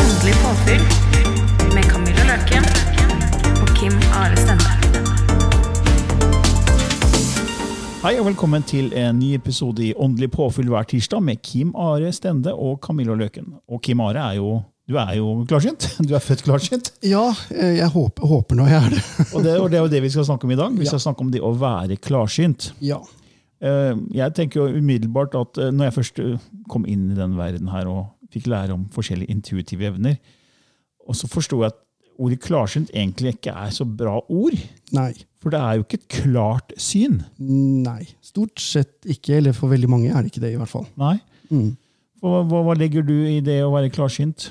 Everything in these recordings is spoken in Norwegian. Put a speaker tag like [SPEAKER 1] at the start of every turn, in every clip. [SPEAKER 1] Åndelig påfyll med Camilla Løken og Kim Are Stende.
[SPEAKER 2] Hei og velkommen til en ny episode i Åndelig påfyll hver tirsdag med Kim Are Stende og Camillo Løken. Og Kim Are er jo du er jo klarsynt. Du er født klarsynt.
[SPEAKER 3] Ja, eh, jeg håper, håper nå jeg er det.
[SPEAKER 2] Og det, og det er jo det vi skal snakke om i dag. Vi skal
[SPEAKER 3] Ja.
[SPEAKER 2] snakke om det å være klarsynt.
[SPEAKER 3] Ja.
[SPEAKER 2] Eh, Jeg tenker jo umiddelbart at eh, når jeg først eh, kom inn i den verden her og fikk lære om forskjellige intuitive evner, og så forsto jeg at ordet klarsynt egentlig ikke er så bra ord.
[SPEAKER 3] Nei.
[SPEAKER 2] For det er jo ikke et klart syn.
[SPEAKER 3] Nei. Stort sett ikke, eller for veldig mange er det ikke det, i hvert fall.
[SPEAKER 2] Nei. Hva, hva, hva legger du i det å være klarsynt?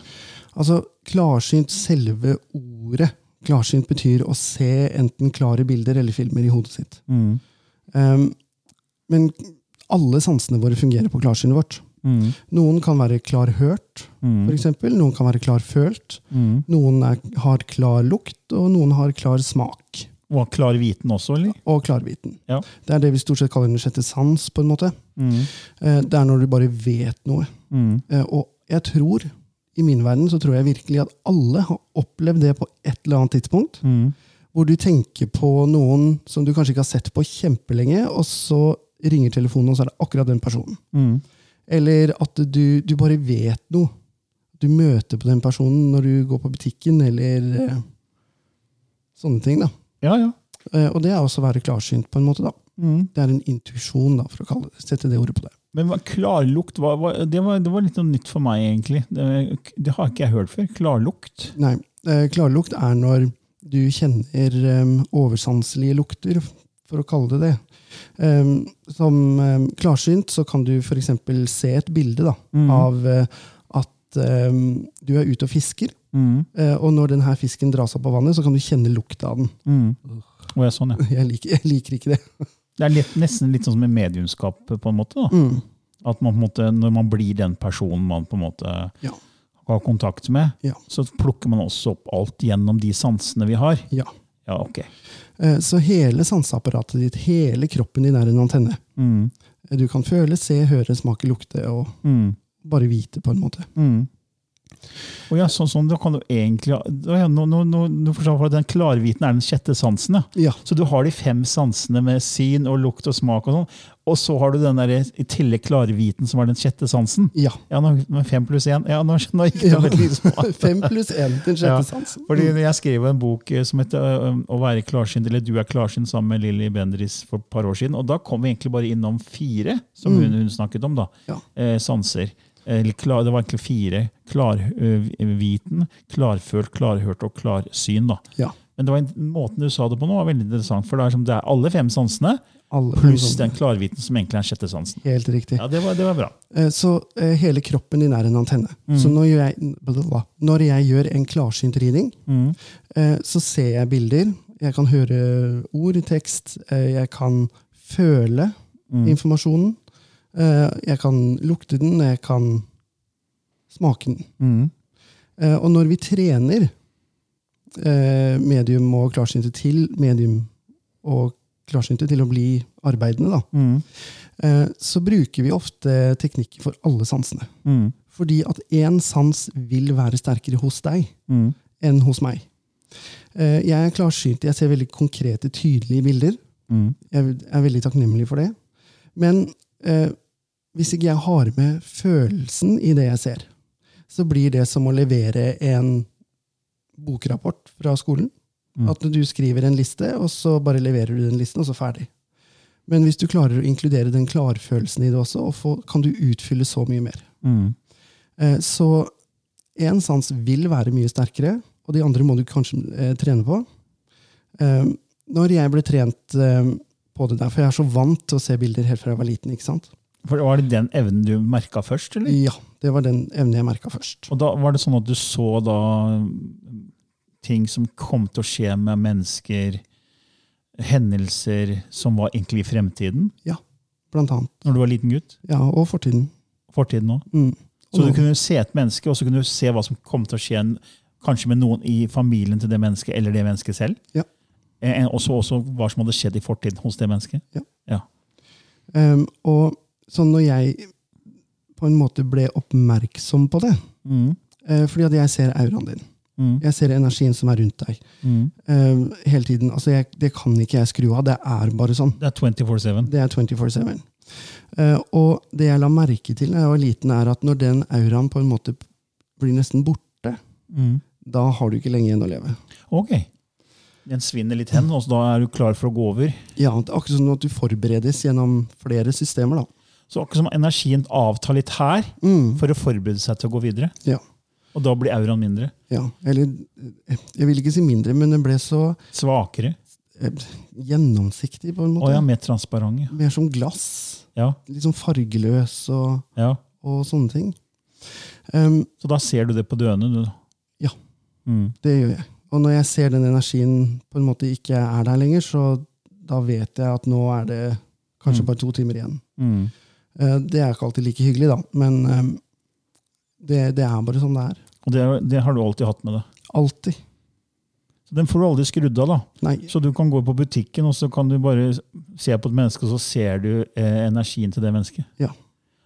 [SPEAKER 3] Altså, klarsynt, selve ordet. Klarsynt betyr å se enten klare bilder eller filmer i hodet sitt. Um, men alle sansene våre fungerer på klarsynet vårt. Noen kan være klarhørt, for eksempel. Noen kan være klarfølt. Noen er, har klar lukt, og noen har klar smak.
[SPEAKER 2] Og klar viten også, eller?
[SPEAKER 3] Og klarviten.
[SPEAKER 2] Ja.
[SPEAKER 3] Det er det vi stort sett kaller den sjette sans, på en måte. Eh, Det er når du bare vet noe. Eh, Og jeg tror, i min verden, så tror jeg virkelig at alle har opplevd det på et eller annet tidspunkt. Hvor du tenker på noen som du kanskje ikke har sett på kjempelenge, og så ringer telefonen, og så er det akkurat den personen. Eller at du, du bare vet noe. Du møter på den personen når du går på butikken, eller eh, sånne ting, da.
[SPEAKER 2] Ja, ja.
[SPEAKER 3] Eh, Og det er også å være klarsynt, på en måte. da. Det er en intuisjon, da, for å kalle det, sette det ordet på det.
[SPEAKER 2] Men hva- klarlukt, hva, hva, det, var, det var litt noe nytt for meg, egentlig. Det, det har ikke jeg hørt før. Klarlukt.
[SPEAKER 3] Nei, eh, Klarlukt er når du kjenner eh, oversanselige lukter, for å kalle det det. Eh, Som eh, klarsynt så kan du f.eks. se et bilde da, av eh, at eh, du er ute og fisker.
[SPEAKER 2] Mm,
[SPEAKER 3] eh, Og når denne fisken dras opp av vannet, så kan du kjenne lukta av den.
[SPEAKER 2] mm. Å, ja, sånn, ja.
[SPEAKER 3] Jeg liker, jeg liker ikke det.
[SPEAKER 2] Det er litt, nesten litt sånn som med mediumskap, på en måte. Da.
[SPEAKER 3] Mm.
[SPEAKER 2] At man, på en måte, når man blir den personen man på en måte
[SPEAKER 3] Ja.
[SPEAKER 2] har kontakt med,
[SPEAKER 3] Ja.
[SPEAKER 2] så plukker man også opp alt gjennom de sansene vi har.
[SPEAKER 3] ja.
[SPEAKER 2] Ja, ok.
[SPEAKER 3] Eh, Så hele sanseapparatet ditt, hele kroppen din er en antenne. Eh, Du kan føle, se, høre, smake, lukte og
[SPEAKER 2] Mm.
[SPEAKER 3] bare vite, på en måte.
[SPEAKER 2] Og ja, sånn, sånn, da kan du egentlig, da, ja, nå, nå, nå, nå forstår jeg at Den klarviten er den sjette sansen. Ja.
[SPEAKER 3] Ja.
[SPEAKER 2] Så du har de fem sansene med syn og lukt og smak, og sånn, og så har du den der, i tillegg klarviten, som er den sjette sansen.
[SPEAKER 3] Ja.
[SPEAKER 2] Ja, nå, med fem pluss én. Ja, nå, nå gikk det
[SPEAKER 3] Ja.
[SPEAKER 2] veldig smart.
[SPEAKER 3] Fem pluss én, den
[SPEAKER 2] Ja,
[SPEAKER 3] sjette sansen.
[SPEAKER 2] Fordi Jeg skrev en bok eh, som heter ø, ø, 'Å være klarsynt', eller 'Du er klarsynt', sammen med Lilly Bendriss for et par år siden. Og da kom vi egentlig bare innom fire, som hun, hun snakket om, da.
[SPEAKER 3] Mm. Ja.
[SPEAKER 2] Eh, sanser. Eller klar, det var egentlig fire. Klarviten, klarfølt, klarhørt og klarsyn. da.
[SPEAKER 3] Ja.
[SPEAKER 2] Men det var en, måten du sa det på nå, var veldig interessant. For det er, som det er alle fem sansene
[SPEAKER 3] Alle fem
[SPEAKER 2] pluss
[SPEAKER 3] sansene.
[SPEAKER 2] den klarviten som egentlig er den sjette sansen.
[SPEAKER 3] Helt riktig.
[SPEAKER 2] Ja, det var, det var bra.
[SPEAKER 3] Eh, Så eh, hele kroppen din er en antenne.
[SPEAKER 2] Mm.
[SPEAKER 3] Så når jeg, blablabla, når jeg gjør en klarsynt reading,
[SPEAKER 2] Mm.
[SPEAKER 3] eh, så ser jeg bilder, jeg kan høre ord, tekst, eh, jeg kan føle
[SPEAKER 2] Mm.
[SPEAKER 3] informasjonen, eh, jeg kan lukte den, jeg kan smake den. Eh, Og når vi trener eh, medium og klarsynte til medium og klarsynte til å bli arbeidende, da, eh, så bruker vi ofte teknikker for alle sansene.
[SPEAKER 2] Mm,
[SPEAKER 3] Fordi at én sans vil være sterkere hos deg
[SPEAKER 2] mm,
[SPEAKER 3] enn hos meg. Eh, Jeg er klarsynt. Jeg ser veldig konkrete, tydelige bilder. Jeg er veldig takknemlig for det. Men eh, hvis ikke jeg har med følelsen i det jeg ser, så blir det som å levere en bokrapport fra skolen. At du skriver en liste, og så bare leverer du den listen, og så ferdig. Men hvis du klarer å inkludere den klarfølelsen i det også, og få, kan du utfylle så mye mer.
[SPEAKER 2] Mm.
[SPEAKER 3] Eh, Så én sans vil være mye sterkere, og de andre må du kanskje eh, trene på. Eh, Når jeg ble trent eh, på det der, for jeg er så vant til å se bilder helt fra jeg var liten. ikke sant?
[SPEAKER 2] For Var det den evnen du merka først, eller?
[SPEAKER 3] Ja, Det var den evnen jeg merka først.
[SPEAKER 2] Og da var det sånn at du så da mm, ting som kom til å skje med mennesker, hendelser som var egentlig i fremtiden,
[SPEAKER 3] Ja, blant annet.
[SPEAKER 2] når du var liten gutt?
[SPEAKER 3] Ja, Og fortiden.
[SPEAKER 2] Fortiden òg?
[SPEAKER 3] Mm.
[SPEAKER 2] Så
[SPEAKER 3] Og
[SPEAKER 2] du
[SPEAKER 3] nå-
[SPEAKER 2] kunne se et menneske, og så kunne du se hva som kom til å skje en- kanskje med noen i familien til det mennesket, eller det mennesket selv?
[SPEAKER 3] Ja.
[SPEAKER 2] Eh, Og så også hva som hadde skjedd i fortiden hos det mennesket?
[SPEAKER 3] Ja.
[SPEAKER 2] ja.
[SPEAKER 3] Ehm, og sånn når jeg på en måte ble oppmerksom på det
[SPEAKER 2] Mm.
[SPEAKER 3] eh, Fordi at jeg ser auraen din.
[SPEAKER 2] Mm.
[SPEAKER 3] Jeg ser energien som er rundt deg.
[SPEAKER 2] Mm.
[SPEAKER 3] Ehm, hele tiden. Altså, jeg, det kan ikke jeg skru av. Det er bare sånn.
[SPEAKER 2] Det er 24-7.
[SPEAKER 3] Det er 24-7. Eh, og det jeg la merke til da jeg var liten, er at når den auraen på en måte blir nesten borte,
[SPEAKER 2] Mm.
[SPEAKER 3] da har du ikke lenge igjen å leve.
[SPEAKER 2] Ok. Den svinner litt hen, og så da er du klar for å gå over.
[SPEAKER 3] Ja, det er Akkurat som at du forberedes gjennom flere systemer. da.
[SPEAKER 2] Så akkurat som energien avtar litt her,
[SPEAKER 3] Mm,
[SPEAKER 2] for å forberede seg til å gå videre.
[SPEAKER 3] ja,
[SPEAKER 2] Og da blir auraen mindre.
[SPEAKER 3] ja. Eller eh, Jeg vil ikke si mindre, men den ble så
[SPEAKER 2] Svakere.
[SPEAKER 3] eh, gjennomsiktig, på en
[SPEAKER 2] Og
[SPEAKER 3] måte.
[SPEAKER 2] ja, mer transparent.
[SPEAKER 3] Mer som glass.
[SPEAKER 2] Ja,
[SPEAKER 3] Litt sånn fargeløs og,
[SPEAKER 2] ja.
[SPEAKER 3] og sånne ting. Ehm,
[SPEAKER 2] Så da ser du det på døende, du.
[SPEAKER 3] Ja.
[SPEAKER 2] Mm.
[SPEAKER 3] det gjør jeg. Og når jeg ser den energien på en måte ikke er der lenger, så da vet jeg at nå er det kanskje
[SPEAKER 2] Mm.
[SPEAKER 3] bare to timer igjen.
[SPEAKER 2] Mm.
[SPEAKER 3] Eh, Det er ikke alltid like hyggelig, da, men ehm, det, det er bare sånn det er.
[SPEAKER 2] Og det, det har du alltid hatt med deg.
[SPEAKER 3] Alltid.
[SPEAKER 2] Så den får du aldri skrudd av, da.
[SPEAKER 3] Nei.
[SPEAKER 2] Så du kan gå på butikken, og så kan du bare se på et menneske, og så ser du eh, energien til det mennesket.
[SPEAKER 3] Ja.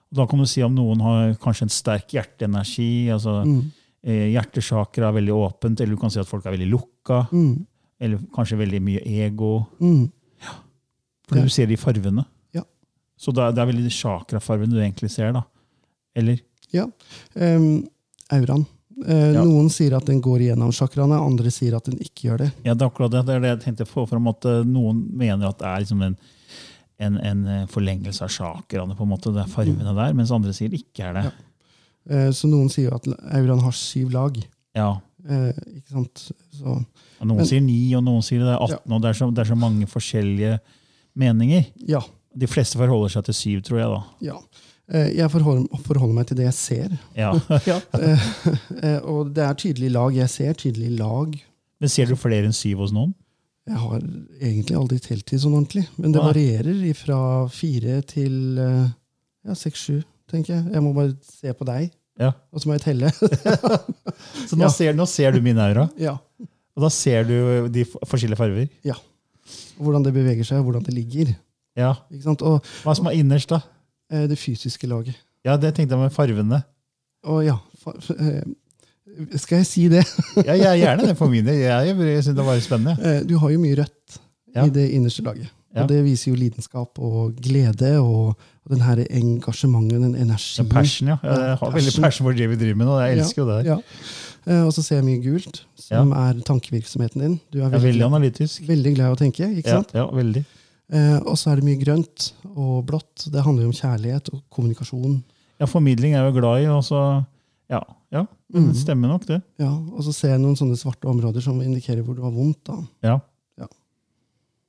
[SPEAKER 2] Og da kan du si om noen har kanskje en sterk hjerteenergi, altså
[SPEAKER 3] Mm.
[SPEAKER 2] eh, hjertesaker er veldig åpent, eller du kan si at folk er veldig lukka,
[SPEAKER 3] Mm.
[SPEAKER 2] eller kanskje veldig mye ego.
[SPEAKER 3] Mm.
[SPEAKER 2] For
[SPEAKER 3] Ja.
[SPEAKER 2] du ser de farvene.
[SPEAKER 3] Ja.
[SPEAKER 2] Så det er, det er veldig de chakrafarvene du egentlig ser, da. Eller?
[SPEAKER 3] Ja. Ehm, auraen. Eh,
[SPEAKER 2] Ja.
[SPEAKER 3] Noen sier at den går gjennom chakraene, andre sier at den ikke gjør det.
[SPEAKER 2] Ja, det er akkurat det. Det er det jeg tenkte å få fram, at eh, noen mener at det er liksom en, en, en eh, forlengelse av chakraene, på en måte. Det er farvene
[SPEAKER 3] Mm.
[SPEAKER 2] der, mens andre sier ikke er det.
[SPEAKER 3] Eh, Så noen sier jo at auraen har syv lag.
[SPEAKER 2] Ja.
[SPEAKER 3] Eh, ikke sant? Så,
[SPEAKER 2] Og Noen
[SPEAKER 3] Men-
[SPEAKER 2] sier ni, og noen sier det er 18, og det er, så, det er så mange forskjellige meninger.
[SPEAKER 3] ja.
[SPEAKER 2] De fleste forholder seg til syv, tror jeg, da.
[SPEAKER 3] ja. Eh, jeg forholder, forholder meg til det jeg ser.
[SPEAKER 2] Ja.
[SPEAKER 3] Eh, og det er tydelige lag. Jeg ser tydelige lag.
[SPEAKER 2] Men ser du flere enn syv hos noen?
[SPEAKER 3] Jeg har egentlig aldri telt i sånn ordentlig, men det
[SPEAKER 2] Nei.
[SPEAKER 3] varierer fra fire til eh, ja, seks-sju, tenker jeg. Jeg må bare se på deg,
[SPEAKER 2] Ja.
[SPEAKER 3] og så må jeg telle.
[SPEAKER 2] Så nå,
[SPEAKER 3] Ja.
[SPEAKER 2] ser, nå ser du min aura,
[SPEAKER 3] ja.
[SPEAKER 2] og da ser du de f- forskjellige farver.
[SPEAKER 3] ja. Hvordan det beveger seg, hvordan det ligger.
[SPEAKER 2] Ja.
[SPEAKER 3] Ikke sant? Og
[SPEAKER 2] Hva som er innerst, da?
[SPEAKER 3] eh, det fysiske laget.
[SPEAKER 2] Ja, det tenkte jeg med farvene.
[SPEAKER 3] Og ja, fa eh, skal jeg si det?
[SPEAKER 2] Ja, jeg er gjerne det for min del. Jeg, jeg synes det var spennende.
[SPEAKER 3] Eh, du har jo mye rødt
[SPEAKER 2] Ja.
[SPEAKER 3] i det innerste laget.
[SPEAKER 2] Ja.
[SPEAKER 3] Og det viser jo lidenskap og glede og, og den her engasjementet, den
[SPEAKER 2] Ja,
[SPEAKER 3] energien.
[SPEAKER 2] Passion, ja. Jeg har veldig
[SPEAKER 3] Passion.
[SPEAKER 2] passion for det vi driver med nå. Jeg elsker jo det. her.
[SPEAKER 3] Ja. Eh, og så ser jeg mye gult, som er tankevirksomheten din. Du er
[SPEAKER 2] Jeg er
[SPEAKER 3] veldig,
[SPEAKER 2] veldig analytisk.
[SPEAKER 3] veldig glad i å tenke, ikke
[SPEAKER 2] Ja,
[SPEAKER 3] sant?
[SPEAKER 2] ja, veldig.
[SPEAKER 3] Eh, og så er det mye grønt og blått. Det handler jo om kjærlighet og kommunikasjon.
[SPEAKER 2] Ja, formidling er jeg jo glad i, og så Ja, ja.
[SPEAKER 3] Mm.
[SPEAKER 2] Men det stemmer nok, det.
[SPEAKER 3] Ja, og så ser jeg noen sånne svarte områder som indikerer hvor du har vondt. da.
[SPEAKER 2] Ja.
[SPEAKER 3] Ja.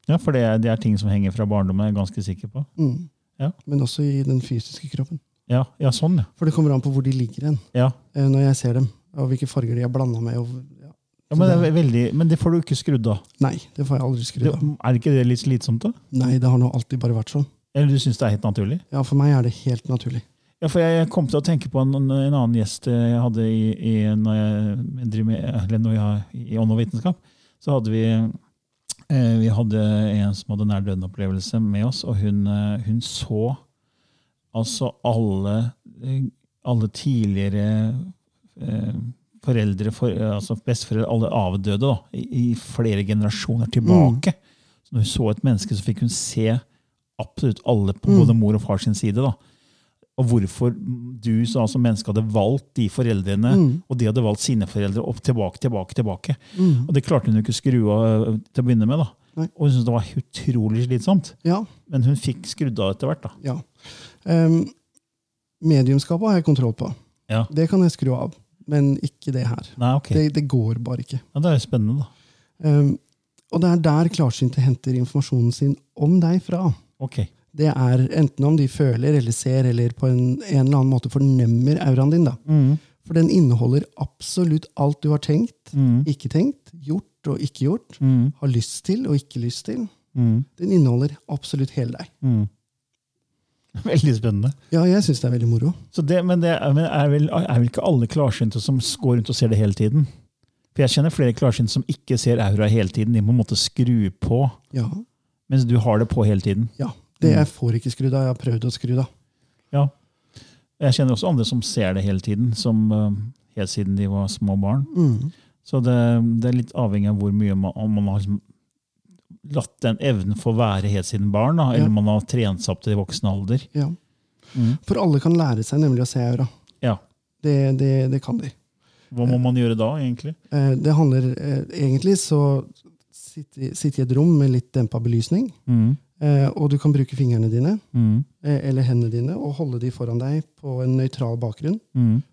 [SPEAKER 2] Ja, for det er, det er ting som henger fra barndommen, jeg er ganske sikker på.
[SPEAKER 3] Mm.
[SPEAKER 2] Ja.
[SPEAKER 3] Men også i den fysiske kroppen.
[SPEAKER 2] Ja, ja sånn, ja.
[SPEAKER 3] For det kommer an på hvor de ligger hen,
[SPEAKER 2] ja.
[SPEAKER 3] eh, når jeg ser dem. Og hvilke farger de er blanda med. Og, ja.
[SPEAKER 2] ja men, det er ve- veldig, men det får du ikke skrudd av.
[SPEAKER 3] Nei, det får jeg aldri skrudd
[SPEAKER 2] Det-
[SPEAKER 3] av.
[SPEAKER 2] Er ikke det litt slitsomt, da?
[SPEAKER 3] Nei, det har nå alltid bare vært sånn.
[SPEAKER 2] Eller du syns det er helt naturlig?
[SPEAKER 3] Ja, For meg er det helt naturlig.
[SPEAKER 2] Ja, for jeg kom til å tenke på en, en annen gjest eh, jeg hadde i, i, når jeg driver med, eller når jeg, har- i ånd og vitenskap. Så hadde vi, eh, vi hadde en som hadde nær døden-opplevelse med oss, og hun, eh, hun så altså alle, eh, alle tidligere eh, foreldre, for, eh, altså besteforeldre, alle avdøde da, i, i flere generasjoner tilbake. Så når hun så et menneske, så fikk hun se absolutt alle på både mor og far sin side. da Og hvorfor du så, som altså menneske hadde valgt de foreldrene, og de hadde valgt sine foreldre, og tilbake, tilbake, tilbake.
[SPEAKER 3] Mm.
[SPEAKER 2] Og det klarte hun jo ikke å skru av eh, til å begynne med. da.
[SPEAKER 3] Nei.
[SPEAKER 2] Og hun syntes det var utrolig slitsomt.
[SPEAKER 3] Ja.
[SPEAKER 2] Men hun fikk skrudd av etter hvert. da.
[SPEAKER 3] ja. Ehm, mediumskapet har jeg kontroll på.
[SPEAKER 2] Ja.
[SPEAKER 3] Det kan jeg skru av, men ikke det her.
[SPEAKER 2] Nei, ok.
[SPEAKER 3] Det, det går bare ikke.
[SPEAKER 2] Ja, det er jo spennende, da.
[SPEAKER 3] Ehm, og det er der klarsynte henter informasjonen sin om deg fra.
[SPEAKER 2] Ok.
[SPEAKER 3] Det er enten om de føler eller ser eller på en, en eller annen måte fornemmer auraen din. da.
[SPEAKER 2] Mm.
[SPEAKER 3] For den inneholder absolutt alt du har tenkt,
[SPEAKER 2] Mm.
[SPEAKER 3] ikke tenkt, gjort og ikke gjort, har lyst til og ikke lyst til.
[SPEAKER 2] Mm.
[SPEAKER 3] Den inneholder absolutt hele deg.
[SPEAKER 2] Veldig spennende.
[SPEAKER 3] Ja, jeg syns det er veldig moro.
[SPEAKER 2] Så det, men det er, men er, vel, er vel ikke alle klarsynte som går rundt og ser det hele tiden? For jeg kjenner flere klarsynte som ikke ser aura hele tiden. De må på en måte skru på,
[SPEAKER 3] Ja,
[SPEAKER 2] mens du har det på hele tiden.
[SPEAKER 3] ja. Det jeg får ikke skrudd av. Jeg har prøvd å skru det av.
[SPEAKER 2] Ja. Jeg kjenner også andre som ser det hele tiden, som eh, helt siden de var små barn. Så det, det er litt avhengig av hvor mye man, om man har liksom latt den evnen få være helt siden barn, da,
[SPEAKER 3] Ja.
[SPEAKER 2] eller om man har trent seg opp til voksen alder.
[SPEAKER 3] Ja. For alle kan lære seg nemlig å se aura.
[SPEAKER 2] Ja.
[SPEAKER 3] Det, det, det kan de.
[SPEAKER 2] Hva må man gjøre da, egentlig?
[SPEAKER 3] Eh, Det handler eh, egentlig så sitter sitter i et rom med litt dempa belysning, eh, og du kan bruke fingrene dine eh, eller hendene dine og holde de foran deg på en nøytral bakgrunn.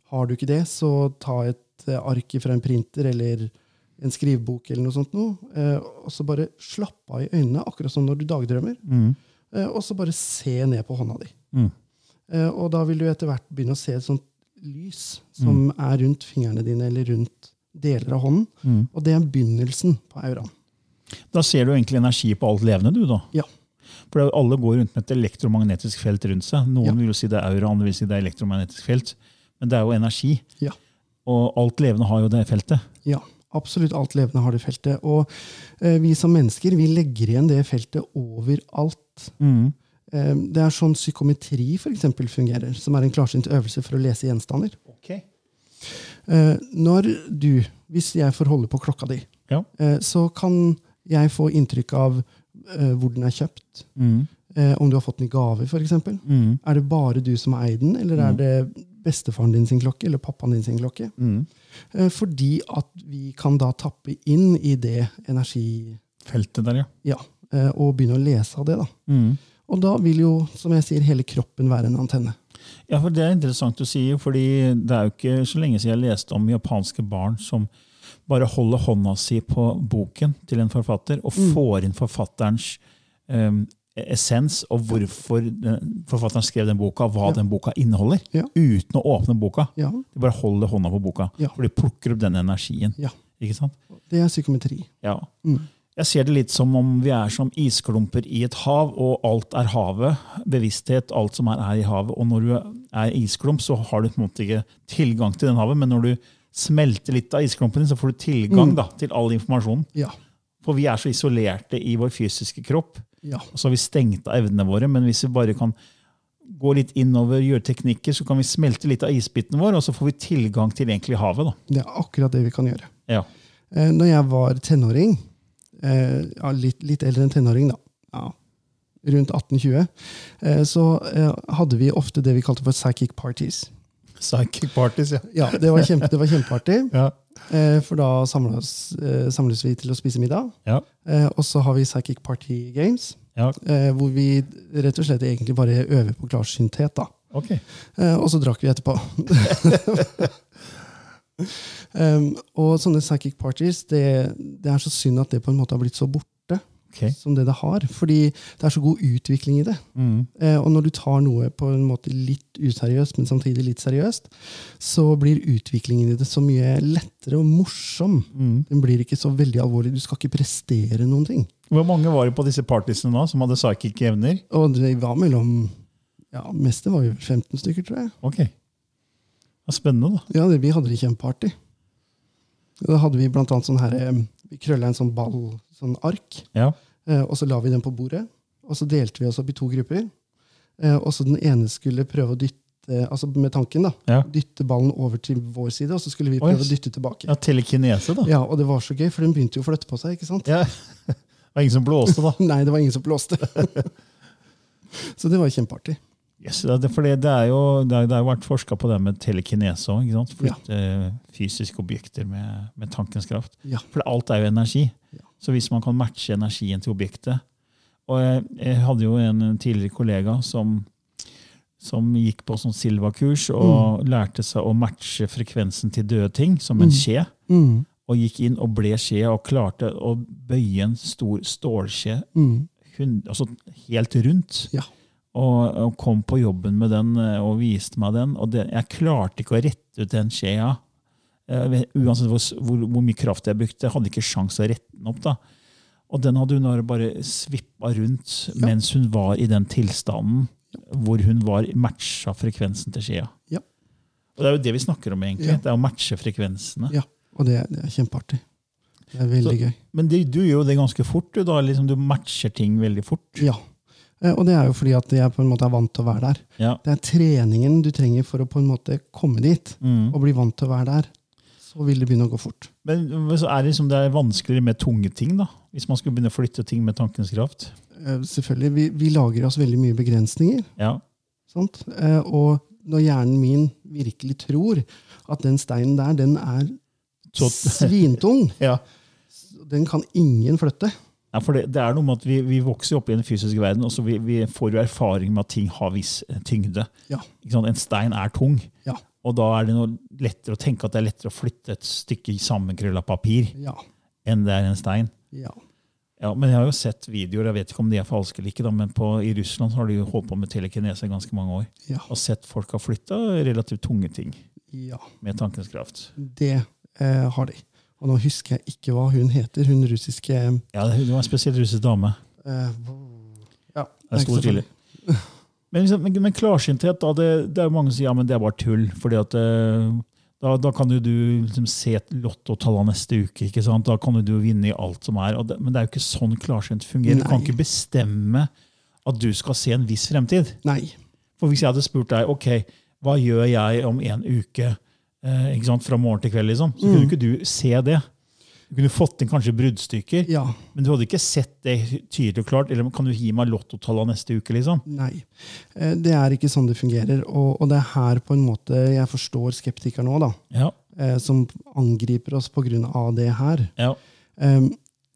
[SPEAKER 3] Har du ikke det, så ta et eh, ark fra en printer eller en skrivebok eller noe sånt noe, eh, og så bare slapp av i øynene, akkurat som når du dagdrømmer, eh, og så bare se ned på hånda di. Eh, Og da vil du etter hvert begynne å se et sånt lys som er rundt fingrene dine eller rundt deler av hånden. Og det er begynnelsen på auraen.
[SPEAKER 2] Da ser du egentlig energi på alt levende, du, da.
[SPEAKER 3] Ja.
[SPEAKER 2] For det er jo alle går rundt med et elektromagnetisk felt rundt seg. Noen
[SPEAKER 3] Ja.
[SPEAKER 2] vil jo si det er aura, andre vil si det er elektromagnetisk felt. Men det er jo energi,
[SPEAKER 3] Ja.
[SPEAKER 2] og alt levende har jo det feltet.
[SPEAKER 3] ja. Absolutt alt levende har det feltet. Og eh, vi som mennesker vi legger igjen det feltet overalt. Eh, det er sånn psykometri for eksempel, fungerer, som er en klarsynt øvelse for å lese gjenstander. Eh, når du, hvis jeg får holde på klokka di,
[SPEAKER 2] Ja.
[SPEAKER 3] eh, så kan jeg få inntrykk av eh, hvor den er kjøpt. Eh, om du har fått den i gave, f.eks. eksempel. Er det bare du som eier den, eller er det bestefaren din sin klokke eller pappaen din sin klokke? Eh, fordi at vi kan da tappe inn i det energi...
[SPEAKER 2] Feltet der, ja.
[SPEAKER 3] Ja, eh, og begynne å lese av det. da. Og da vil jo, som jeg sier, hele kroppen være en antenne.
[SPEAKER 2] Ja, for Det er interessant du sier, fordi det er jo ikke så lenge siden jeg leste om japanske barn som bare holder hånda si på boken til en forfatter og
[SPEAKER 3] Mm.
[SPEAKER 2] får inn forfatterens em, essens og hvorfor den, forfatteren skrev den boka, hva den boka inneholder,
[SPEAKER 3] Ja.
[SPEAKER 2] uten å åpne boka.
[SPEAKER 3] Ja.
[SPEAKER 2] De bare holder hånda på boka,
[SPEAKER 3] Ja.
[SPEAKER 2] for de plukker opp den energien.
[SPEAKER 3] Ja,
[SPEAKER 2] Ikke sant?
[SPEAKER 3] Det er psykometri.
[SPEAKER 2] Ja. Jeg ser det litt som om vi er som isklumper i et hav, og alt er havet. Bevissthet, alt som er, er i havet. Og når du er isklump, så har du på en måte ikke tilgang til den havet, men når du smelter litt av isklumpen din, så får du tilgang da, til all informasjonen.
[SPEAKER 3] Ja.
[SPEAKER 2] For vi er så isolerte i vår fysiske kropp,
[SPEAKER 3] Ja.
[SPEAKER 2] og så har vi stengt av evnene våre, men hvis vi bare kan gå litt innover, gjøre teknikker, så kan vi smelte litt av isbiten vår, og så får vi tilgang til egentlig havet. da.
[SPEAKER 3] Det er akkurat det vi kan gjøre.
[SPEAKER 2] Ja.
[SPEAKER 3] Eh, når jeg var tenåring, eh, ja, litt, litt eldre enn tenåring, da, ja, rundt 18-20, eh, så eh, hadde vi ofte det vi kalte for psychic parties.
[SPEAKER 2] Psychic parties, ja.
[SPEAKER 3] Ja, Det var, kjempe, det var kjempeartig,
[SPEAKER 2] Ja.
[SPEAKER 3] eh, for da samles, eh, samles vi til å spise middag.
[SPEAKER 2] Ja.
[SPEAKER 3] Eh, og så har vi psychic party games,
[SPEAKER 2] ja.
[SPEAKER 3] eh, hvor vi rett og slett egentlig bare øver på klarsynthet. da.
[SPEAKER 2] Ok.
[SPEAKER 3] Eh, og så drakk vi etterpå. um, og sånne psychic parties, det, det er så synd at det på en måte har blitt så borte
[SPEAKER 2] Ok.
[SPEAKER 3] som det det har. Fordi det er så god utvikling i det. Eh, og når du tar noe på en måte litt useriøst, men samtidig litt seriøst, så blir utviklingen i det så mye lettere og morsom. Den blir ikke så veldig alvorlig. Du skal ikke prestere noen ting.
[SPEAKER 2] Hvor mange var det på disse partiesene da, som hadde psychic evner?
[SPEAKER 3] Og det var mellom ja, Meste var jo 15 stykker, tror jeg.
[SPEAKER 2] Ok. Det er spennende, da.
[SPEAKER 3] Ja, det, vi hadde det kjempeartig. Da hadde vi blant annet sånn her, eh, vi krølla en sånn ball, sånn ark,
[SPEAKER 2] Ja.
[SPEAKER 3] eh, og så la vi den på bordet. Og så delte vi oss opp i to grupper. eh, Og så den ene skulle prøve å dytte, altså med tanken da,
[SPEAKER 2] Ja.
[SPEAKER 3] dytte ballen over til vår side, og så skulle vi
[SPEAKER 2] Oi,
[SPEAKER 3] prøve å
[SPEAKER 2] s-
[SPEAKER 3] dytte tilbake.
[SPEAKER 2] ja telekinese, da.
[SPEAKER 3] Ja, og det var så gøy, for den begynte jo å flytte på seg, ikke sant?
[SPEAKER 2] Ja. Det var ingen som blåste, da.
[SPEAKER 3] Nei, det var ingen som blåste. så det var kjempeartig.
[SPEAKER 2] Yes, det, er det- for det, det, er jo, det, er, det har jo vært forska på det med telekinese òg. Flytte eh, fysiske objekter med, med tankens kraft.
[SPEAKER 3] Ja.
[SPEAKER 2] For alt er jo energi. Så hvis man kan matche energien til objektet Og jeg, jeg hadde jo en tidligere kollega som, som gikk på sånn Silva-kurs og lærte seg å matche frekvensen til døde ting, som en skje.
[SPEAKER 3] Mm.
[SPEAKER 2] Og gikk inn og ble skje og klarte å bøye en stor stålskje
[SPEAKER 3] Mm.
[SPEAKER 2] hun- altså helt rundt
[SPEAKER 3] Ja.
[SPEAKER 2] og, og kom på jobben med den eh, og viste meg den. Og det, jeg klarte ikke å rette ut den skjea. Jeg vet- Uansett hvor, s- hvor, hvor mye kraft jeg brukte, jeg hadde ikke sjans å rette den opp. da. Og den hadde hun bare- bare svippa rundt mens hun var i den tilstanden hvor hun var matcha frekvensen til skjea.
[SPEAKER 3] Ja.
[SPEAKER 2] Og Det er jo det vi snakker om, egentlig.
[SPEAKER 3] Ja.
[SPEAKER 2] Det er å matche frekvensene.
[SPEAKER 3] ja. Og det, det er kjempeartig. Det er veldig gøy.
[SPEAKER 2] Men det, du gjør jo det ganske fort. Du, da. Liksom, du matcher ting veldig fort.
[SPEAKER 3] Ja. Eh, Og det er jo fordi at jeg på en måte er vant til å være der.
[SPEAKER 2] Ja.
[SPEAKER 3] Det er treningen du trenger for å på en måte komme dit
[SPEAKER 2] Mm.
[SPEAKER 3] og bli vant til å være der. Så vil det begynne å gå fort.
[SPEAKER 2] Men så er det, liksom, det er vanskeligere med tunge ting, da? Hvis man skulle begynne å flytte ting med tankens kraft?
[SPEAKER 3] Eh, Selvfølgelig, vi, vi lager oss veldig mye begrensninger.
[SPEAKER 2] Ja.
[SPEAKER 3] Sant? Eh, Og når hjernen min virkelig tror at den steinen der, den er
[SPEAKER 2] Så,
[SPEAKER 3] svintung,
[SPEAKER 2] ja.
[SPEAKER 3] den kan ingen flytte.
[SPEAKER 2] Nei, for det, det er noe med at vi, vi vokser jo opp i den fysiske verden, og så vi, vi får jo erfaring med at ting har viss eh, tyngde.
[SPEAKER 3] Ja.
[SPEAKER 2] Ikke sant? En stein er tung,
[SPEAKER 3] Ja.
[SPEAKER 2] og da er det noe lettere å tenke at det er lettere å flytte et stykke sammenkrølla papir
[SPEAKER 3] Ja.
[SPEAKER 2] enn det er en stein.
[SPEAKER 3] ja.
[SPEAKER 2] Ja, men Jeg har jo sett videoer, jeg vet ikke om de er falske eller ikke, da, men på, i Russland så har de jo holdt på med telekinese i ganske mange år.
[SPEAKER 3] Ja.
[SPEAKER 2] Og sett folk har flytta relativt tunge ting
[SPEAKER 3] ja.
[SPEAKER 2] med tankens kraft.
[SPEAKER 3] Det eh, har de. Og nå husker jeg ikke hva hun heter, hun russiske eh,
[SPEAKER 2] Ja, det var en spesielt russisk dame.
[SPEAKER 3] ja,
[SPEAKER 2] Det er
[SPEAKER 3] ikke så
[SPEAKER 2] stor
[SPEAKER 3] farlig.
[SPEAKER 2] tydelig. Men, liksom, men, men klarsynthet, da, det, det er jo mange som sier ja, men det er bare tull. fordi at eh, da, da kan jo du liksom se et lottotall neste uke. ikke sant? Da kan jo du vinne i alt som er. Og det, men det er jo ikke sånn klarsynt fungerer. Du kan
[SPEAKER 3] Nei.
[SPEAKER 2] ikke bestemme at du skal se en viss fremtid.
[SPEAKER 3] Nei.
[SPEAKER 2] For hvis jeg hadde spurt deg ok, hva gjør jeg om en uke eh, ikke sant, fra morgen til kveld, liksom, så kunne ikke du se det. Du kunne fått inn kanskje bruddstykker,
[SPEAKER 3] Ja.
[SPEAKER 2] men du hadde ikke sett det tydelig og klart. Eller kan du gi meg lottotallene neste uke? liksom?
[SPEAKER 3] Nei. Eh, Det er ikke sånn det fungerer. Og, og det er her på en måte jeg forstår skeptikerne òg, da.
[SPEAKER 2] Ja,
[SPEAKER 3] eh, Som angriper oss pga. det her.
[SPEAKER 2] ja,
[SPEAKER 3] Eh,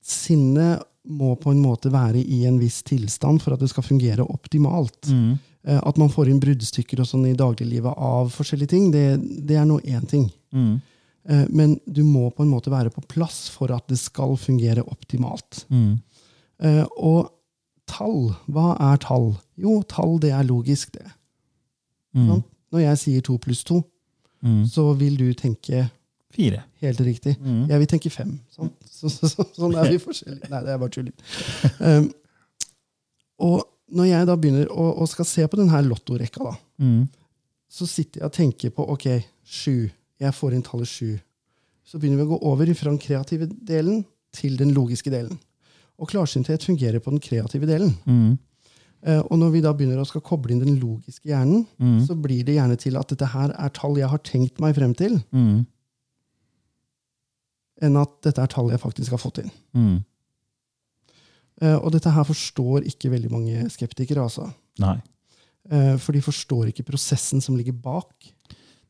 [SPEAKER 3] Sinnet må på en måte være i en viss tilstand for at det skal fungere optimalt. Eh, At man får inn bruddstykker og sånn i dagliglivet av forskjellige ting, det, det er nå én ting. Eh, Men du må på en måte være på plass for at det skal fungere optimalt.
[SPEAKER 2] Mm.
[SPEAKER 3] Eh, Og tall, hva er tall? Jo, tall det er logisk, det. Sant? Når jeg sier to pluss to, så vil du tenke
[SPEAKER 2] Fire.
[SPEAKER 3] Helt riktig. Jeg vil tenke fem. Sånn, så, så, så, sånn er vi forskjellige. Nei, det er bare tull. Um, og når jeg da begynner å, og skal se på denne lottorekka, da, så sitter jeg og tenker på ok, sju. Jeg får inn tallet sju. Så begynner vi å gå over fra den kreative delen til den logiske delen. Og klarsynthet fungerer på den kreative delen. Eh, Og når vi da begynner å skal koble inn den logiske hjernen, så blir det gjerne til at dette her er tall jeg har tenkt meg frem til enn at dette er tall jeg faktisk har fått inn.
[SPEAKER 2] Mm.
[SPEAKER 3] Eh, Og dette her forstår ikke veldig mange skeptikere, altså.
[SPEAKER 2] Nei.
[SPEAKER 3] Eh, For de forstår ikke prosessen som ligger bak.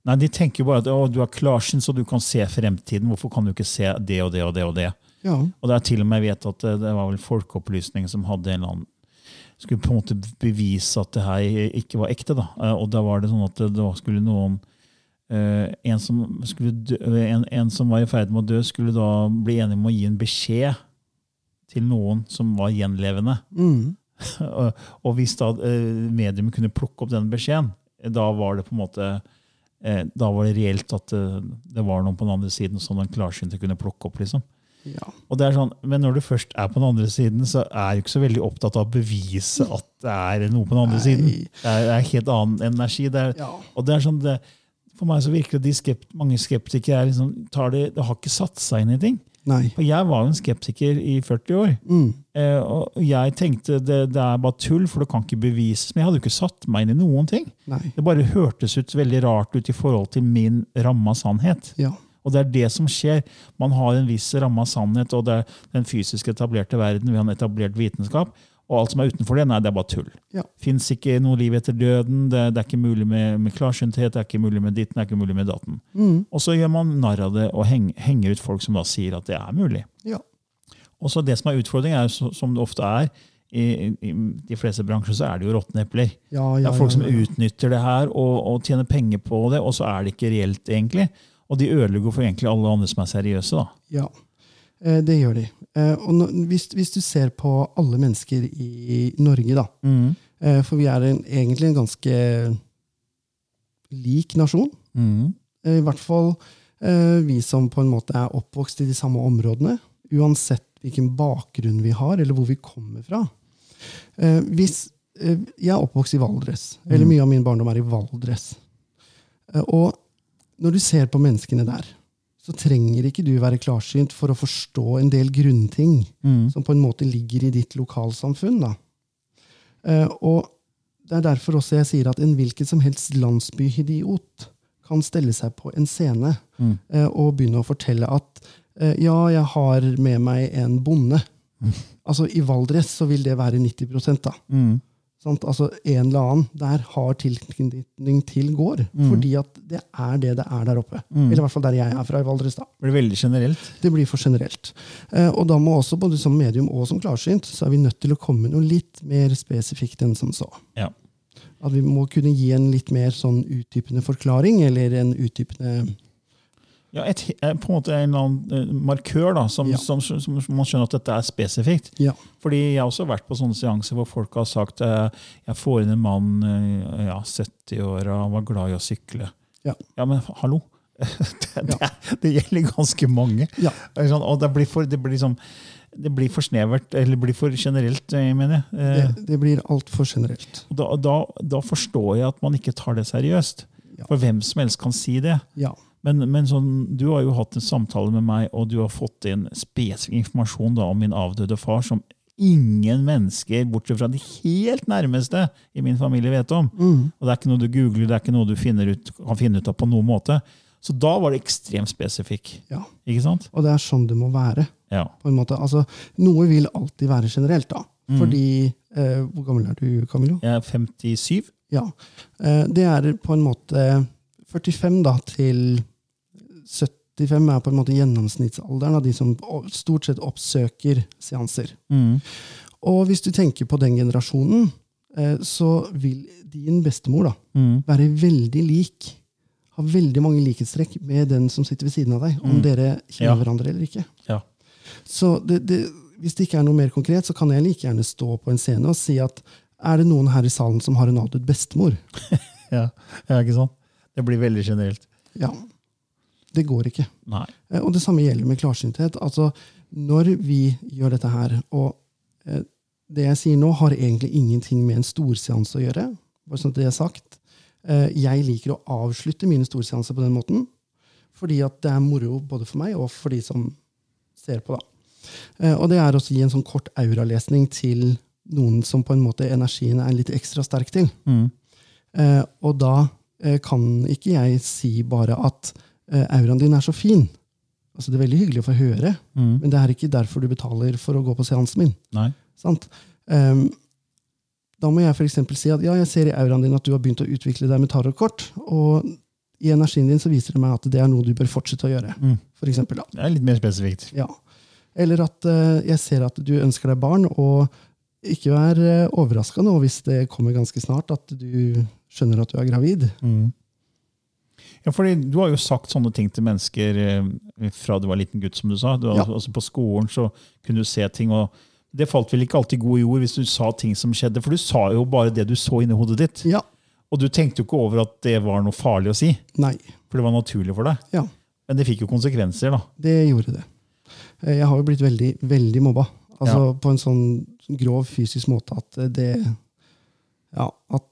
[SPEAKER 2] Nei, De tenker jo bare at å, du er klarsynt, så du kan se fremtiden. Hvorfor kan du ikke se det og det og det? Og det
[SPEAKER 3] Ja,
[SPEAKER 2] Og det er til og med jeg vet at det det var vel Folkeopplysningen som hadde en eller annen skulle på en måte bevise at det her ikke var ekte. da. Eh, Og da var det sånn at det da skulle noen eh, en som, skulle dø, en, en som var i ferd med å dø, skulle da bli enig om å gi en beskjed til noen som var gjenlevende. og, og hvis da eh, medium kunne plukke opp den beskjeden, eh, da var det på en måte eh, da var det reelt at eh, det var noen på den andre siden som den klarsynte kunne plukke opp. liksom.
[SPEAKER 3] ja.
[SPEAKER 2] Og det er sånn, Men når du først er på den andre siden, så er du ikke så veldig opptatt av å bevise at det er noe på den andre
[SPEAKER 3] Nei.
[SPEAKER 2] siden. Det er, det er helt annen energi. Det er,
[SPEAKER 3] Ja.
[SPEAKER 2] Og det er sånn, det, For meg så virker det de skept, mange skeptikere er liksom, tar det, det har ikke satt seg inn i ting.
[SPEAKER 3] Nei.
[SPEAKER 2] For jeg var jo en skeptiker i 40 år.
[SPEAKER 3] Mm.
[SPEAKER 2] Eh, og jeg tenkte det, det er bare tull, for det kan ikke bevises. Men jeg hadde jo ikke satt meg inn i noen ting.
[SPEAKER 3] Nei.
[SPEAKER 2] Det bare hørtes ut veldig rart ut i forhold til min ramme av sannhet.
[SPEAKER 3] Ja.
[SPEAKER 2] Og det er det som skjer. Man har en viss ramme av sannhet, og det er den fysiske etablerte verden, vi har en etablert vitenskap. Og alt som er utenfor det, nei, det er bare tull.
[SPEAKER 3] Ja.
[SPEAKER 2] Fins ikke noe liv etter døden, det, det er ikke mulig med, med klarsynthet, det er ikke mulig med ditten, det er ikke mulig med datten. Og så gjør man narr av det og heng, henger ut folk som da sier at det er mulig.
[SPEAKER 3] Ja.
[SPEAKER 2] Og så det som er utfordringen, er jo så- som det ofte er, i, i de fleste bransjer så er det jo råtne epler.
[SPEAKER 3] Ja,
[SPEAKER 2] Det
[SPEAKER 3] ja,
[SPEAKER 2] er folk
[SPEAKER 3] ja,
[SPEAKER 2] som
[SPEAKER 3] ja.
[SPEAKER 2] utnytter det her og, og tjener penger på det, og så er det ikke reelt, egentlig. Og de ødelegger for egentlig alle andre som er seriøse. da.
[SPEAKER 3] Ja, eh, det gjør de. Eh, Og nå- hvis, hvis du ser på alle mennesker i Norge, da,
[SPEAKER 2] Mm.
[SPEAKER 3] eh, for vi er en, egentlig en ganske lik nasjon, Eh, i hvert fall eh, vi som på en måte er oppvokst i de samme områdene, uansett hvilken bakgrunn vi har, eller hvor vi kommer fra. Eh, Hvis, eh, jeg er oppvokst i Valdres, eller mye av min barndom er i Valdres. Eh, Og når du ser på menneskene der, så trenger ikke du være klarsynt for å forstå en del grunnting som på en måte ligger i ditt lokalsamfunn. Da. Eh, og det er derfor også jeg sier at en hvilken som helst landsbyhidiot kan stelle seg på en scene eh, og begynne å fortelle at eh, ja, jeg har med meg en bonde. Altså I Valdres så vil det være 90 da. Sant? Altså En eller annen der har tilknytning til gård. Fordi at det er det det er der oppe. Eller i hvert fall der jeg er fra i Valdres. da.
[SPEAKER 2] Blir veldig generelt.
[SPEAKER 3] Det blir for generelt. Eh, og da må også, både som medium og som klarsynt, så er vi nødt til å komme med noe litt mer spesifikt enn som så.
[SPEAKER 2] Ja.
[SPEAKER 3] At vi må kunne gi en litt mer sånn utdypende forklaring, eller en utdypende
[SPEAKER 2] Ja, et, eh, på en måte en eller annen eh, markør da, som,
[SPEAKER 3] Ja.
[SPEAKER 2] som, som, som man skjønner at dette er spesifikt.
[SPEAKER 3] Ja.
[SPEAKER 2] Fordi jeg har også vært på sånne seanser hvor folk har sagt eh, jeg får inn en mann eh, ja, 70 år og han var glad i å sykle.
[SPEAKER 3] Ja.
[SPEAKER 2] Ja, men hallo! Det, det, det gjelder ganske mange.
[SPEAKER 3] Ja.
[SPEAKER 2] Det er Sånn, og det blir, for, det, blir liksom, det blir for snevert, eller det blir for generelt, eh, mener jeg. Eh,
[SPEAKER 3] Det, det blir altfor generelt.
[SPEAKER 2] og Da, da, da forstår jeg at man ikke tar det seriøst.
[SPEAKER 3] Ja.
[SPEAKER 2] For hvem som helst kan si det.
[SPEAKER 3] Ja.
[SPEAKER 2] Men, men sånn, du har jo hatt en samtale med meg, og du har fått inn spesifikk informasjon da, om min avdøde far, som ingen mennesker, bortsett fra de helt nærmeste i min familie, vet om. Og det er ikke noe du googler, det er ikke noe du finner ut, kan finne ut av på noen måte. Så da var det ekstremt spesifikk.
[SPEAKER 3] ja.
[SPEAKER 2] Ikke sant?
[SPEAKER 3] Og det er sånn det må være.
[SPEAKER 2] Ja.
[SPEAKER 3] på en måte. Altså, noe vil alltid være generelt, da. Fordi eh, Hvor gammel er du, Camillo?
[SPEAKER 2] Jeg er 57.
[SPEAKER 3] Ja. Eh, det er på en måte 45 da, til 75 er på en måte gjennomsnittsalderen av de som o- stort sett oppsøker seanser. Og hvis du tenker på den generasjonen, eh, så vil din bestemor da, være veldig lik. Ha veldig mange likhetstrekk med den som sitter ved siden av deg. Om dere
[SPEAKER 2] Ja.
[SPEAKER 3] kjenner hverandre eller ikke.
[SPEAKER 2] Ja.
[SPEAKER 3] Så det, det, hvis det ikke er noe mer konkret, så kan jeg like gjerne stå på en scene og si at er det noen her i salen som har en avdød bestemor?
[SPEAKER 2] Ja. ja, ikke sant? Det blir veldig generelt.
[SPEAKER 3] Ja. Det går ikke.
[SPEAKER 2] Nei.
[SPEAKER 3] Eh, Og det samme gjelder med klarsynthet. Altså, når vi gjør dette her, og eh, det jeg sier nå, har egentlig ingenting med en storseanse å gjøre. bare sånn at det er sagt. Eh, Jeg liker å avslutte mine storseanser på den måten, fordi at det er moro både for meg og for de som ser på. da. Eh, Og det er også å gi en sånn kort auralesning til noen som på en måte energien er litt ekstra sterk til. Eh, og da eh, kan ikke jeg si bare at eh, auraen din er så fin. Altså, det er veldig hyggelig å få høre, men det er ikke derfor du betaler for å gå på seansen min.
[SPEAKER 2] Nei.
[SPEAKER 3] Sant? Ehm, da må jeg for eksempel si at ja, jeg ser i auraen din at du har begynt å utvikle deg med tarotkort, og i energien din så viser det meg at det er noe du bør fortsette å gjøre. For eksempel, da.
[SPEAKER 2] Det er litt mer spesifikt.
[SPEAKER 3] Ja. Eller at eh, jeg ser at du ønsker deg barn, og ikke vær uh, overraska nå hvis det kommer ganske snart at du skjønner at du er gravid.
[SPEAKER 2] Ja, fordi Du har jo sagt sånne ting til mennesker eh, fra du var liten gutt, som du sa. Du, har-
[SPEAKER 3] Ja.
[SPEAKER 2] altså På skolen så kunne du se ting, og det falt vel ikke alltid god jord hvis du sa ting som skjedde, for du sa jo bare det du så inni hodet ditt.
[SPEAKER 3] Ja.
[SPEAKER 2] Og du tenkte jo ikke over at det var noe farlig å si,
[SPEAKER 3] Nei.
[SPEAKER 2] for det var naturlig for deg.
[SPEAKER 3] Ja.
[SPEAKER 2] Men det fikk jo konsekvenser, da.
[SPEAKER 3] Det gjorde det. Eh, Jeg har jo blitt veldig, veldig mobba.
[SPEAKER 2] Ja.
[SPEAKER 3] Altså på en sånn grov fysisk måte at eh, det Ja. At,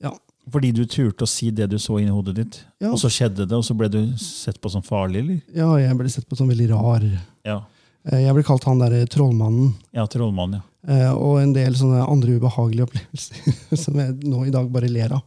[SPEAKER 3] ja.
[SPEAKER 2] Fordi du turte å si det du så inni hodet ditt.
[SPEAKER 3] Ja.
[SPEAKER 2] Og så skjedde det, og så ble du sett på som farlig, eller?
[SPEAKER 3] ja, jeg ble sett på som veldig rar.
[SPEAKER 2] Ja.
[SPEAKER 3] Eh, Jeg ble kalt han derre trollmannen.
[SPEAKER 2] Ja, trollmann, ja.
[SPEAKER 3] Eh, og en del sånne andre ubehagelige opplevelser som jeg nå i dag bare ler av.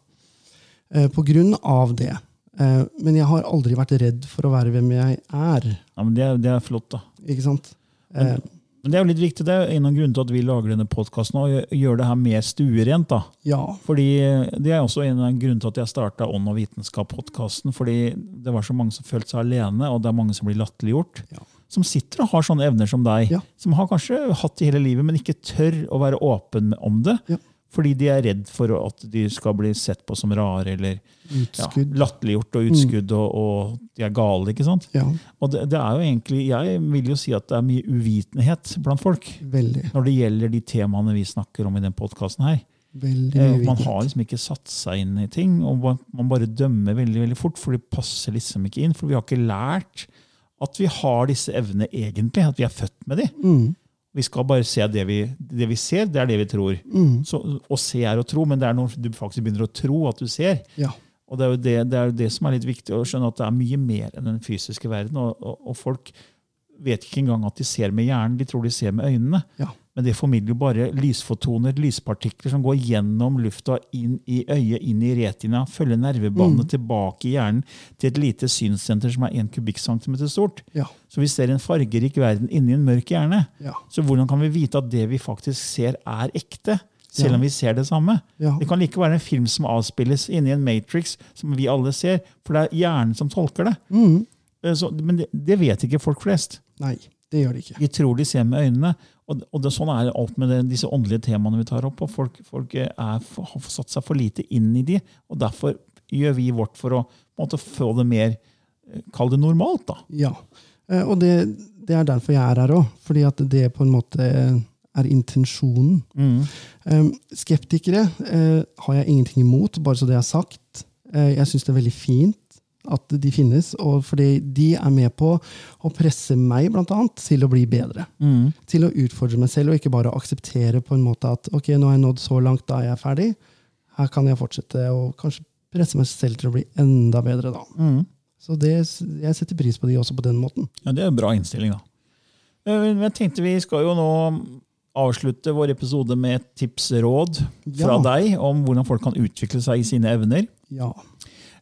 [SPEAKER 3] Eh, på grunn av det. Eh, men jeg har aldri vært redd for å være hvem jeg er.
[SPEAKER 2] ja men det, er- det er flott, da.
[SPEAKER 3] Ikke sant? Eh,
[SPEAKER 2] Men det er jo litt viktig, det er en av grunnene til at vi lager denne podkasten, å gjø- gjøre det her mer stuerent. da.
[SPEAKER 3] Ja.
[SPEAKER 2] Fordi Det er også en av grunnene til at jeg starta Ånd og vitenskap-podkasten. fordi Det var så mange som følte seg alene, og det er mange som blir latterliggjort.
[SPEAKER 3] Ja.
[SPEAKER 2] Som sitter og har sånne evner som deg.
[SPEAKER 3] Ja.
[SPEAKER 2] Som har kanskje hatt det hele livet, men ikke tør å være åpen om det.
[SPEAKER 3] Ja.
[SPEAKER 2] Fordi de er redd for at de skal bli sett på som rare eller ja,
[SPEAKER 3] Utskudd. Mm.
[SPEAKER 2] latterliggjort og utskudd, og, og de er gale. ikke sant?
[SPEAKER 3] Ja,
[SPEAKER 2] Og det, det er jo egentlig, Jeg vil jo si at det er mye uvitenhet blant folk
[SPEAKER 3] veldig.
[SPEAKER 2] når det gjelder de temaene vi snakker om i den podkasten her.
[SPEAKER 3] Veldig
[SPEAKER 2] Eh,
[SPEAKER 3] mye
[SPEAKER 2] Man
[SPEAKER 3] videre.
[SPEAKER 2] har liksom ikke satt seg inn i ting, og man- man bare dømmer veldig veldig fort, for det passer liksom ikke inn. For vi har ikke lært at vi har disse evnene egentlig, at vi er født med de. Vi skal bare se det vi, det vi ser, det er det vi tror. Så, å se er å tro, men det er når du faktisk begynner å tro at du ser.
[SPEAKER 3] Ja.
[SPEAKER 2] Og det er, jo det, det er jo det som er litt viktig å skjønne, at det er mye mer enn den fysiske verden. Og, og, og folk vet ikke engang at de ser med hjernen, de tror de ser med øynene.
[SPEAKER 3] ja.
[SPEAKER 2] Men det formidler jo bare lysfotoner, lyspartikler som går gjennom lufta, inn i øyet, inn i retina, følger nervebanene
[SPEAKER 3] Mm.
[SPEAKER 2] tilbake i hjernen til et lite synssenter som er 1 kubikkcentimeter stort.
[SPEAKER 3] Ja.
[SPEAKER 2] Så vi ser en fargerik verden inni en mørk hjerne.
[SPEAKER 3] Ja.
[SPEAKER 2] Så hvordan kan vi vite at det vi faktisk ser, er ekte? Selv
[SPEAKER 3] Ja.
[SPEAKER 2] om vi ser det samme.
[SPEAKER 3] Ja.
[SPEAKER 2] Det kan like være en film som avspilles inni en Matrix, som vi alle ser, for det er hjernen som tolker det.
[SPEAKER 3] Mm.
[SPEAKER 2] Eh, Så, men det, det vet ikke folk flest.
[SPEAKER 3] Nei, det gjør det ikke.
[SPEAKER 2] De tror de ser med øynene. Og, og det, sånn er det alt med det, disse åndelige temaene vi tar opp. og Folk, folk eh, er, for- har satt seg for lite inn i de, og derfor gjør vi vårt for å på en måte, få det mer eh, Kall det normalt, da.
[SPEAKER 3] Ja. Eh, Og det, det er derfor jeg er her òg. Fordi at det på en måte er intensjonen. Eh, Skeptikere eh, har jeg ingenting imot, bare så det er sagt. Eh, Jeg syns det er veldig fint at de finnes, og fordi de er med på å presse meg blant annet, til å bli bedre. Til å utfordre meg selv, og ikke bare akseptere på en måte at ok, nå har jeg nådd så langt, da er jeg ferdig. Her kan jeg fortsette, og kanskje presse meg selv til å bli enda bedre, da. Så det, jeg setter pris på de også på den måten.
[SPEAKER 2] Ja, Det er en bra innstilling, da. Eh, men Jeg tenkte Vi skal jo nå avslutte vår episode med et tips-råd fra
[SPEAKER 3] Ja.
[SPEAKER 2] deg om hvordan folk kan utvikle seg i sine evner.
[SPEAKER 3] Ja.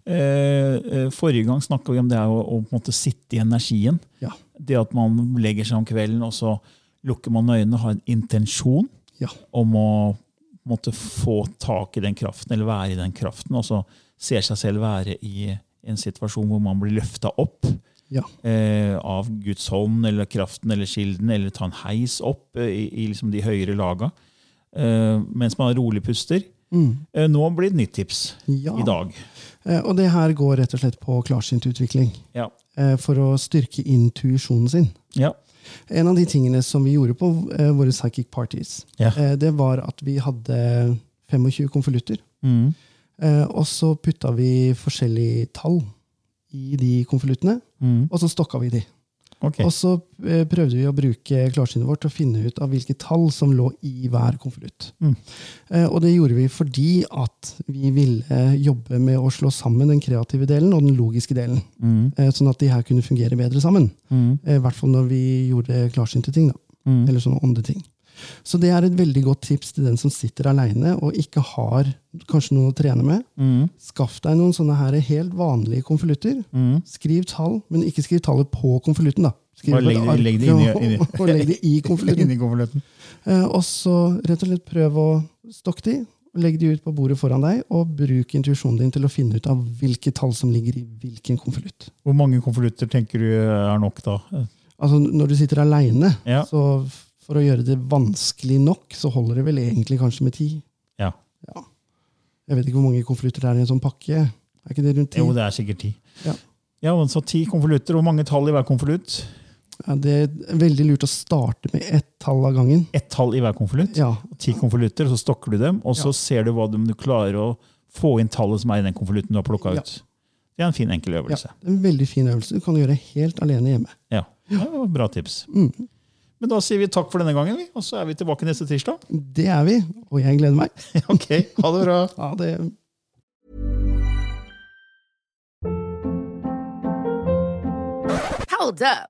[SPEAKER 2] Eh, eh, Forrige gang snakka vi om det her å, å på en måte sitte i energien.
[SPEAKER 3] Ja.
[SPEAKER 2] Det at man legger seg om kvelden, og så lukker man øynene, har en intensjon
[SPEAKER 3] Ja.
[SPEAKER 2] om å på en måte, få tak i den kraften, eller være i den kraften, og så ser seg selv være i en situasjon hvor man blir løfta opp
[SPEAKER 3] Ja.
[SPEAKER 2] eh, av Guds hånd, eller kraften, eller kilden, eller ta en heis opp eh, i, i liksom de høyere laga, eh, mens man rolig puster. Eh, nå blir det et nytt tips
[SPEAKER 3] Mm. Ja.
[SPEAKER 2] i dag.
[SPEAKER 3] Eh, Og det her går rett og slett på klarsynt utvikling.
[SPEAKER 2] Ja.
[SPEAKER 3] eh, For å styrke intuisjonen sin.
[SPEAKER 2] Ja.
[SPEAKER 3] En av de tingene som vi gjorde på eh, våre psychic parties,
[SPEAKER 2] Ja.
[SPEAKER 3] eh, det var at vi hadde 25 konvolutter.
[SPEAKER 2] Mm.
[SPEAKER 3] eh, Og så putta vi forskjellige tall i de konvoluttene,
[SPEAKER 2] Mm.
[SPEAKER 3] og så stokka vi de.
[SPEAKER 2] Ok.
[SPEAKER 3] Og så eh, prøvde vi å bruke klarsynet vårt til å finne ut av hvilke tall som lå i hver konvolutt.
[SPEAKER 2] Mm.
[SPEAKER 3] Eh, Og det gjorde vi fordi at vi ville jobbe med å slå sammen den kreative delen og den logiske delen.
[SPEAKER 2] Mm.
[SPEAKER 3] eh, Sånn at de her kunne fungere bedre sammen.
[SPEAKER 2] Mm.
[SPEAKER 3] Eh, I hvert fall når vi gjorde klarsynte ting. da.
[SPEAKER 2] Mm.
[SPEAKER 3] Eller sånne åndeting. Så det er et veldig godt tips til den som sitter aleine og ikke har kanskje noen å trene med.
[SPEAKER 2] Mm.
[SPEAKER 3] Skaff deg noen sånne her helt vanlige konvolutter.
[SPEAKER 2] Mm.
[SPEAKER 3] Skriv tall, men ikke skriv tallet på konvolutten. da. Skriv
[SPEAKER 2] Bare
[SPEAKER 3] på et
[SPEAKER 2] legg det-
[SPEAKER 3] ark
[SPEAKER 2] legg det inn i-
[SPEAKER 3] og-
[SPEAKER 2] inn i-
[SPEAKER 3] og legg det i konvolutten.
[SPEAKER 2] Inni konvolutten.
[SPEAKER 3] Eh, Og så rett og slett prøv å stokke de, og legg de ut på bordet foran deg, og bruk intuisjonen din til å finne ut av hvilke tall som ligger i hvilken konvolutt.
[SPEAKER 2] Hvor mange konvolutter tenker du eh, er nok da?
[SPEAKER 3] Altså, når du sitter aleine,
[SPEAKER 2] Ja.
[SPEAKER 3] så f- for å gjøre det vanskelig nok, så holder det vel egentlig kanskje med ti.
[SPEAKER 2] Ja.
[SPEAKER 3] Ja. Jeg vet ikke hvor mange konvolutter det er i en sånn pakke. Er ikke det rundt ti?
[SPEAKER 2] Jo, det er sikkert ti.
[SPEAKER 3] Ja.
[SPEAKER 2] Ja, men så ti konvolutter. Hvor mange tall i hver konvolutt?
[SPEAKER 3] Ja, det er veldig lurt å starte med ett tall av gangen.
[SPEAKER 2] Ett tall i hver konvolutt.
[SPEAKER 3] Ja,
[SPEAKER 2] Ti konvolutter, så stokker du dem, og så ser du hva du, om du klarer å få inn tallet som er i den konvolutten du har plukka
[SPEAKER 3] Ja.
[SPEAKER 2] ut. Det er en fin, enkel
[SPEAKER 3] ja.
[SPEAKER 2] øvelse.
[SPEAKER 3] En veldig fin øvelse. Du kan gjøre helt alene hjemme.
[SPEAKER 2] Ja. Mm. Det var bra tips. Men da sier vi takk for denne gangen, vi, og så er vi tilbake neste tirsdag.
[SPEAKER 3] Det er vi, og jeg gleder meg.
[SPEAKER 2] Ok, ha det bra.
[SPEAKER 3] Ha det.
[SPEAKER 4] Hold up.